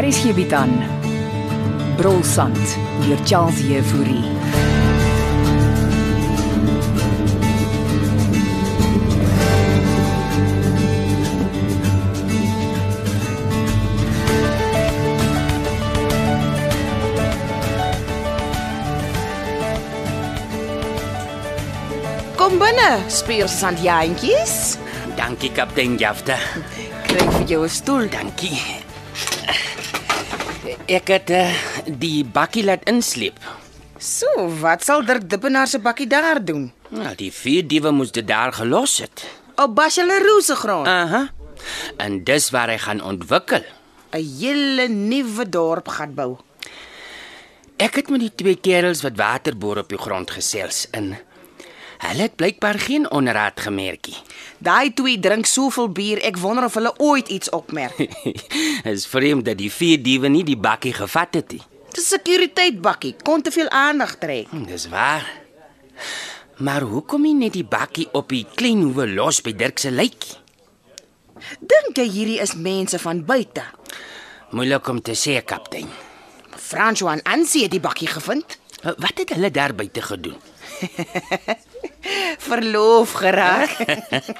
Hier is hierby dan. Brolsand deur Charles Jefouri. Kom binne, speursandjaantjies. Dankie kaptein Jafta. Kry vir jou 'n stoel dan. Dankie. Ek het eh, die bakkie laat insleep. So, wat sal Dirk Dippenaar se bakkie daar doen? Nou, die vier diewe moes dit daar gelos het. Op Bacheleroe se grond, Aha. En dis waar hy gaan ontwikkel. 'n hele nuwe dorp gaan bou. Ek het met die twee kerels wat waterboor op die grond gesels in. Hulle het blykbaar geen onraad gemerkie. Daai twee drink soveel bier, ek wonder of hulle ooit iets opmerk. Is vreemd dat die vier diewe nie die bakkie gevat het nie. Dis 'n sekuriteitbakkie, kon te veel aandag trek. Hm, Dis waar. Maar hoekom nie net die bakkie op die klein hoewe los by Dirk se lykie? Dink jy hierdie is mense van buite? Moeilik om te sê, kaptein. François Ansie het die bakkie gevind, Wat het hulle daar buite gedoen? verloof geraak.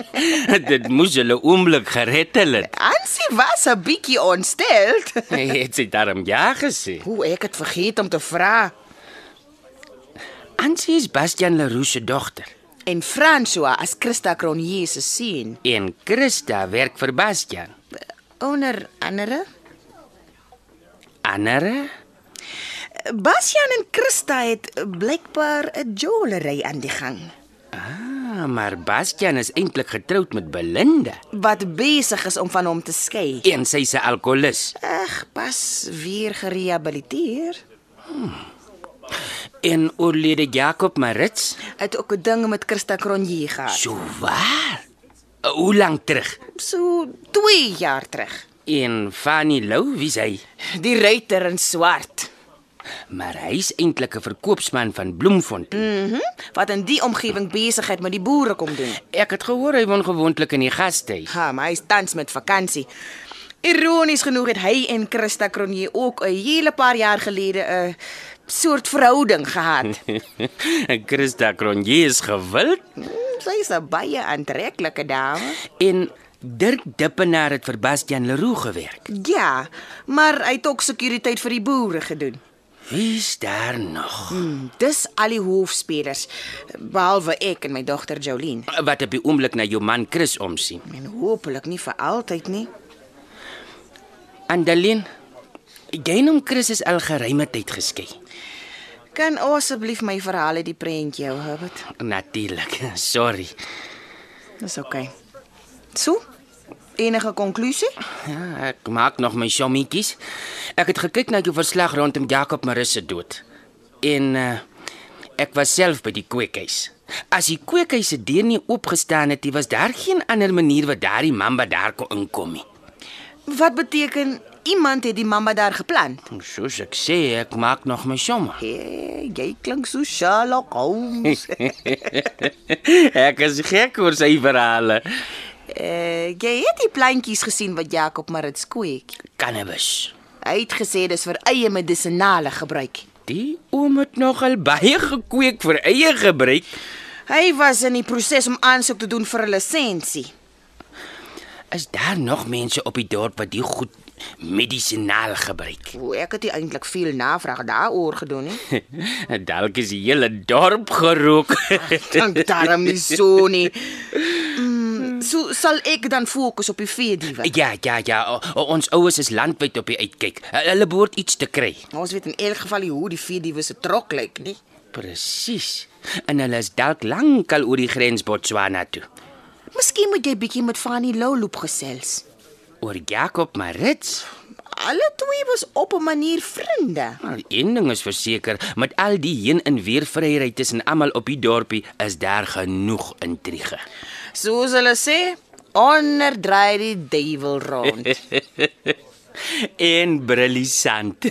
Dit moes hulle oomblik gered het. Ansie was 'n bietjie ontsteld. Hy het sy darm ja gesê. Hoe ek het vergeet om te vra. Ansie is Bastian Leroux se dogter En François as Christa Cronje se seun, en Christa werk vir Bastian. onder andere Andere? Bastian en Christa het eh, blykbaar 'n jolery aan die gang Ah, maar Bastian is eintlik getroud met Belinda wat besig is om van hom te skei. en sy's 'n alkolikus. Ag, pas weer gerehabiliteer. En oorlede Jakob Marits? Het ook 'n ding met Christa Cronje gehad. So waar. Uh, Hoe lank terug? So 2 jaar terug. En Fanny Lou, wie sy? Die ruiter in swart Maar hy's eintlik 'n verkoopsman van Bloemfontein. wat in die omgewing besigheid met die boere kom doen. Ek het gehoor hy woon gewoonlik in die gastehuis. Ha, maar hy is tans met vakansie. Ironies genoeg het hy en Christa Cronje ook 'n hele paar jaar gelede 'n soort verhouding gehad. Christa Cronje is gewild Hmm, Sy is 'n baie aantreklike dame. Ja. en Dirk Dippenaar het vir Bastian Leroux gewerk. Ja, maar hy het ook sekuriteit vir die boere gedoen. Wie's daar nog? Hmm, Dis al die hoofspelers behalwe ek en my dogter Jolien. Wat op die oomblik na jou man Chris omsien. En hopelik nie vir altyd nie. Andelien, jy en hom Chris is al geruime tyd geskei. Kan asseblief my verhaal uit die prentjie hou, Herbert? Natuurlik. Sorry. Dis oukei. Okay. So? Enige konklusie? Ja, ek maak nog my sommetjies. Ek het gekyk na jou verslag rondom Jakob Marus se dood. En uh, ek was self by die kweekhuis. As die kweekhuis se deur nie oopgestaan het nie, was daar geen ander manier wat daardie man by daar kon inkom nie. Wat beteken iemand het die mamma daar geplant? Soos ek sê, ek maak nog my somme. Hey, jy klink so Sherlock Holmes. ek is gek oor sy verhale. uh, jy het die plantjies gesien wat Jakob Marits kweek. Cannabis. Hy het gesê dis vir eie medisonale gebruik. Die oom het nogal baie gekweek vir eie gebruik. Hy was in die proses om aansoek te doen vir 'n lisensie. Is daar nog mense op die dorp wat die goed medisinaal gebruik? O, ek het nie eintlik veel navraag daaroor gedoen nie. Dalk is die hele dorp gerook. Dank daarom nie so nie. Mm, so sal ek dan fokus op die veediewe. ja, ja, ja, o, o, ons oues is landwyd op die uitkyk. Hu- Hulle behoort iets te kry. Ons weet in elk geval nie hoe die veediewe se trok lyk nie. Presies. En hulle is dalk lankal oor die grens Botswana toe. Miskien moet jy bietjie met Fanny Louloop gesels. Oor Jakob Marits. Alle twee was op 'n manier vriende. Maar een ding is verseker, met al die heen en weer vryery tussen almal op die dorpie is daar genoeg intrige. Soos hulle sê, Onderdry die duiwel rond. en briljant.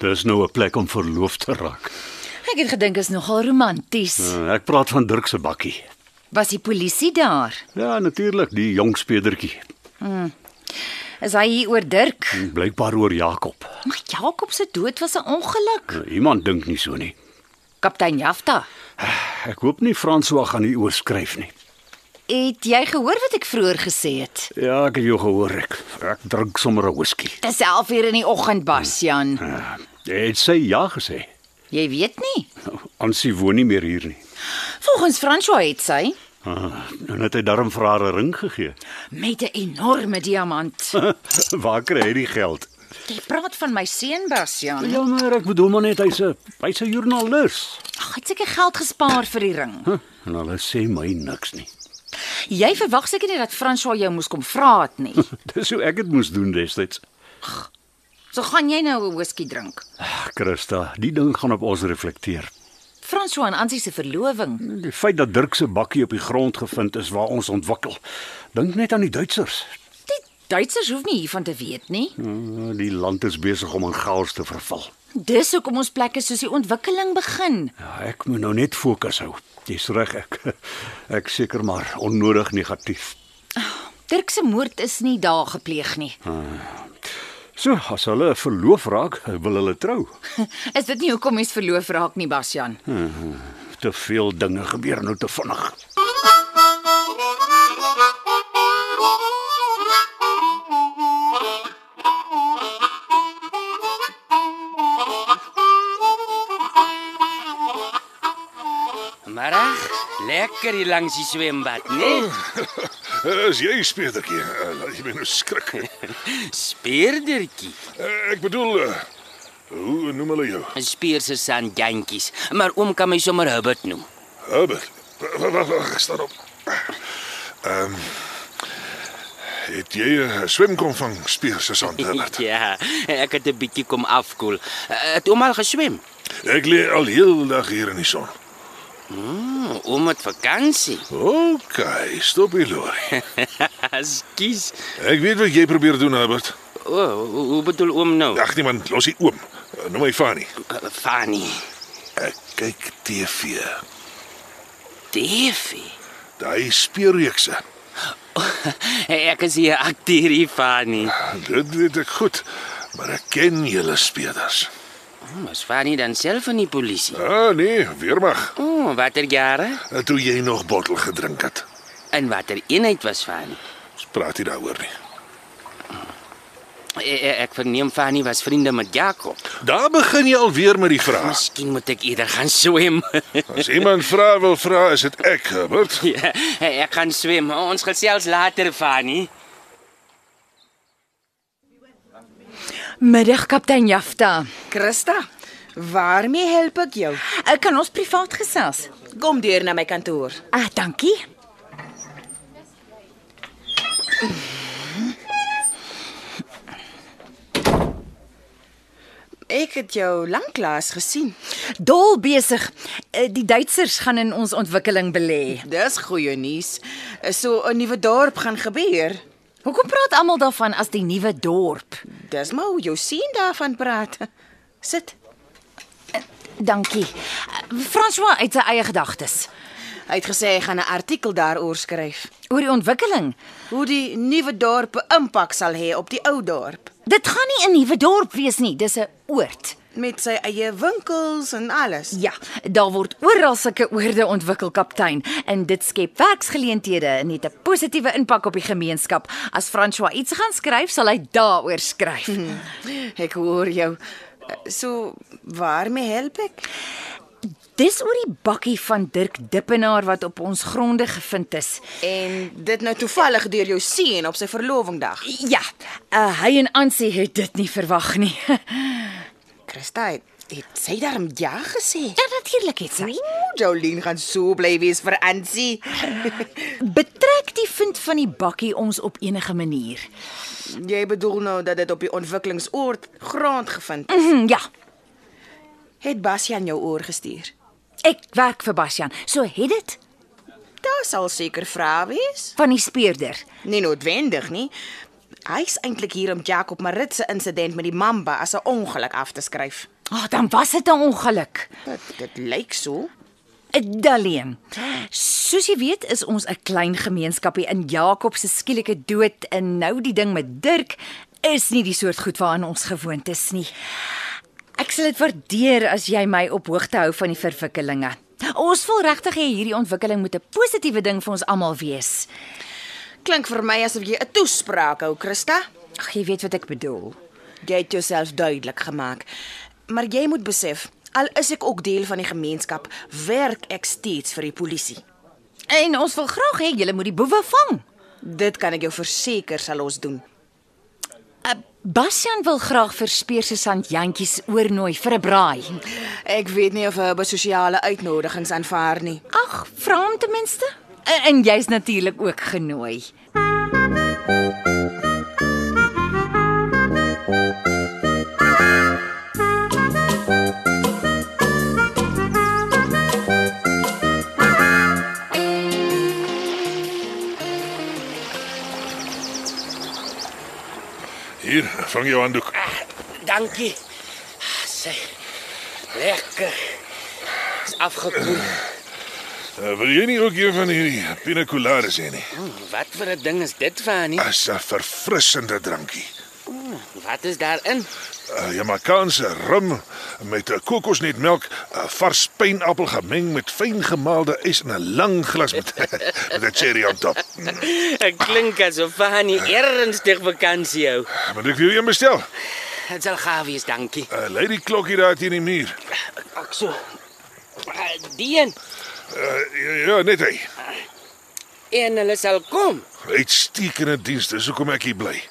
Dis nou 'n plek om verloof te raak. Ek het gedink is nogal romanties. Eh, Ek praat van Dirk se bakkie. Was die polisie daar? Ja, natuurlik, die jong spedertjie. Is hy hier oor Dirk? Blykbaar oor Jakob. Maar Jakob se dood was 'n ongeluk. Eh, Iemand dink nie so nie. Kaptein Jafta, Ek hoop nie François gaan nie oorskryf nie. het jy gehoor wat ek vroeër gesê het? Ja, ek het jou gehoor ek. Ek drink sommer 'n whisky. Dis 11:00 in die oggend, Basjan. Eh, Het sy ja gesê. Jy weet nie. Ansie woon nie meer hier nie. Volgens François het sy Ah, en het hy darm vir haar 'n ring gegee. met 'n enorme diamant. Waar kry hy die geld? Jy praat van my seun Basjan. Ja, maar ek bedoel maar net hy's 'n hy's 'n joernalis. Ag, hy het seker geld gespaar vir die ring. Huh, en hulle sê my niks nie. Jy verwag seker nie dat François jou moes kom vra het nie. Dis hoe ek dit moes doen destyds. So gaan jy nou 'n whisky drink. Ag, Christa, die ding gaan op ons reflekteer. François en Ansie se verloving. Die feit dat Dirk se bakkie op die grond gevind is waar ons ontwikkel. Dink net aan die Duitsers. Die Duitsers hoef nie hiervan te weet nie. Ah, Die land is besig om in chaos te verval. Dis hoekom ons plekke soos die ontwikkeling begin. Ja, ek moet nou net fokus hou. Dis reg ek. Ek seker maar onnodig negatief. Dirk se moord is nie daar gepleeg nie. So, as hulle verloof raak, wil hulle trou. Is dit nie hoekom mens verloof raak nie, Basjan? Te veel dinge gebeur nou te vinnig. Middag, lekker hier langs die nee? swembad, né? Eh, Is jy speedertjie? Eh, Laat jy my nou skrik. Speerdertjie. Eh, Ek bedoel eh, hoe noem hulle jou? Speer se sandjantjies, maar oom kan my sommer Hubbard noem. Herbert. Wag wag wag, staan op. Ehm Het jy 'n swemkom van Spier se sand Herbert? ja, ek het 'n bietjie kom afkoel. Eh, Het oom al geswem? Ek lê al heel dag hier in die son. Hm, Oom het vakansie. OK, stop hier lorie. Skus. Ek weet wat jy probeer doen Herbert. O, oh, hoe bedoel oom nou? Ag nee man, los die oom. Eh, Noem my Fanny. Eh, Fanny. Ek kyk TV. Davie. Daai speurreekse. Ek is hier akteur hier Fanny. Dit weet ek goed, maar ek ken julle speerders. Hm, Was Fanny dan self in die polisie? Ah nee, weermag. Eh, O, oh, watter jare? Toe jy nog bottel gedrink het. En watter eenheid was Fanny? Ons praat nie daaroor nie. Eh, eh, Ek verneem Fanny was vriende met Jakob. Daar begin jy alweer met die vraag. Miskien moet ek eerder gaan swem. As iemand vra wil vra, is dit ek, Herbert. ja, ek gaan swem. Ons gesels later Fanny. Middag, kaptein Jafta. Christa, waarmee help ek jou? Ek Eh, kan ons privaat gesels. Kom deur na my kantoor. Ah, dankie. Ek het jou lanklaas gesien. Dol besig. Eh, Die Duitsers gaan in ons ontwikkeling belê. Dis goeie nuus. So 'n nuwe dorp gaan gebeur. Hoekom praat almal daarvan as die nuwe dorp? Dis maar hoe jou sien daarvan praat. Sit. Dankie. Eh, François uit sy eie gedagtes Hy het gesê hy gaan 'n artikel daaroor skryf. oor die ontwikkeling. Hoe die nuwe dorp 'n impak sal hê op die ou dorp Dit gaan nie 'n nuwe dorp wees nie, dis 'n oord. met sy eie winkels en alles. Ja, daar word oral sulke oorde ontwikkel, kaptein, en dit skep werksgeleenthede en het 'n positiewe impak op die gemeenskap. As François iets gaan skryf, sal hy daaroor skryf. Ek hoor jou. So waarmee help ek? Dis oor die bakkie van Dirk Dippenaar wat op ons gronde gevind is. En dit nou toevallig deur jou sien op sy verlovingdag. Ja, uh, hy en Ansie het dit nie verwag nie. Christa het, het sy daarom ja gesê. ja, natuurlik het sy. Oeh, Jolien gaan so bly wees vir Ansie. Betrek die vind van die bakkie ons op enige manier. Jy bedoel nou dat dit op die ontwikkelingsoord grond gevind is. Mhm, ja. Het Bastian jou oorgestuur? Ek werk vir Bastian. So het dit Daar sal seker vrae wees. van die speurder. Nie noodwendig nie. Hy's eintlik hier om Jacob Marit se insident met die mamba as 'n ongeluk af te skryf. Ag, Ah, dan was dit 'n ongeluk. Dit, dit lyk so. Daleen. Soos jy weet, is ons 'n klein gemeenskapie in Jakob se skielike dood en nou die ding met Dirk is nie die soort goed waaraan ons gewoond is nie. Ek sal dit waardeer as jy my op hoogte hou van die verwikkelinge. Ons wil regtig hê hierdie ontwikkeling moet 'n positiewe ding vir ons almal wees. Klink vir my asof jy 'n toespraak hou, Christa. Ag, jy weet wat ek bedoel. Jy het jouself duidelik gemaak. Maar jy moet besef, al is ek ook deel van die gemeenskap, werk ek steeds vir die polisie. En ons wil graag hê jy moet die boewe vang. Dit kan ek jou verseker sal ons doen. Eh, Bastian wil graag vir Speerse Sant jantjies oornooi vir 'n braai. Ek weet nie of hy by sosiale uitnodigings aanvaar nie. Ag, vra hom ten minste. En, en jy's natuurlik ook genooi. Hier, vang jou handdoek. Dankie. Sy. Lekker. Is afgekoel. Eh, wil jy nie ook een van hierdie pina coladas hê nie? Hmm, Wat vir 'n ding is dit, Fanny? As 'n verfrissende drankie. Wat is daarin? Uh, Jamaicaanse rum met eh, 'n kokosnetmelk, 'n eh, vars pynappel gemeng met fyn gemaalde ys en 'n lang glas met met 'n cherry on top. Hm, Dit klink asof Fanny ernstig vakansie hou. Moet ek vir jou een bestel? Dit sal gaaf wees, dankie. Uh, lei die klokkie daar teen die muur. Ek so. Eh, Die een Uh, ja, ja, net hy. en hulle sal kom. Uitstekende diens, dis hoekom ek hier bly.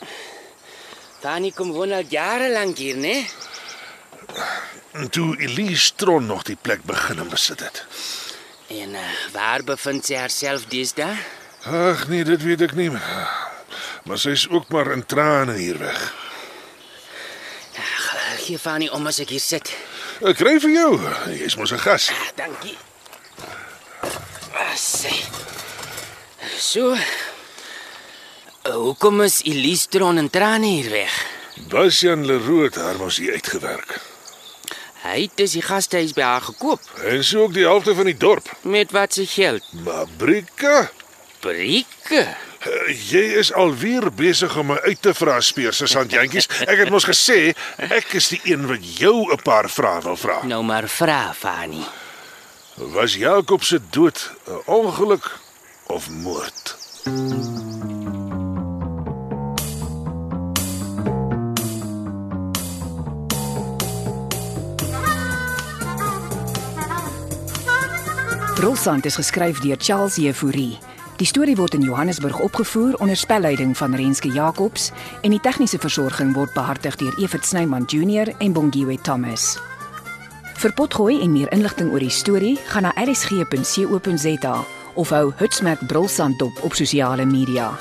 Fanny kom woon al jare lank hier, né? En toe Elise Tron nog die plek begin en besit het. En uh, waar bevind sy haarself deesdae? Ag nee, dit weet ek nie. maar- Maar sy's ook maar in trane hier weg. Ag, Gee Fanny om as ek hier sit. Ek kry vir jou. Jy's mos 'n gas. Ah, Dankie. Ah, sy. So. Hoekom is Elistron en Trane hier weg? Bastian Leroux het haar mos hier uitgewerk. Hy het dis die gastehuis by haar gekoop En so ook die helfte van die dorp. met wat se geld? Maar Brika, Brieke. eh, jy is alweer besig om my uit te vra speer se sandjantjies. Ek het mos gesê ek is die een wat jou 'n paar vrae wil vra. Nou maar vra Fanny. Was Jakob se dood 'n ongeluk of moord? Brulsand is geskryf deur Charles Jefouri. Die storie word in Johannesburg opgevoer onder spelleiding van Renske Jacobs en die tegniese versorging word behartig deur Evert Snyman Junior en Bongwe Thomas. Vir potgooi en meer inligting oor die storie, gaan na rsg.co.za of hou Hutsmerk Brulsand dop op sosiale media.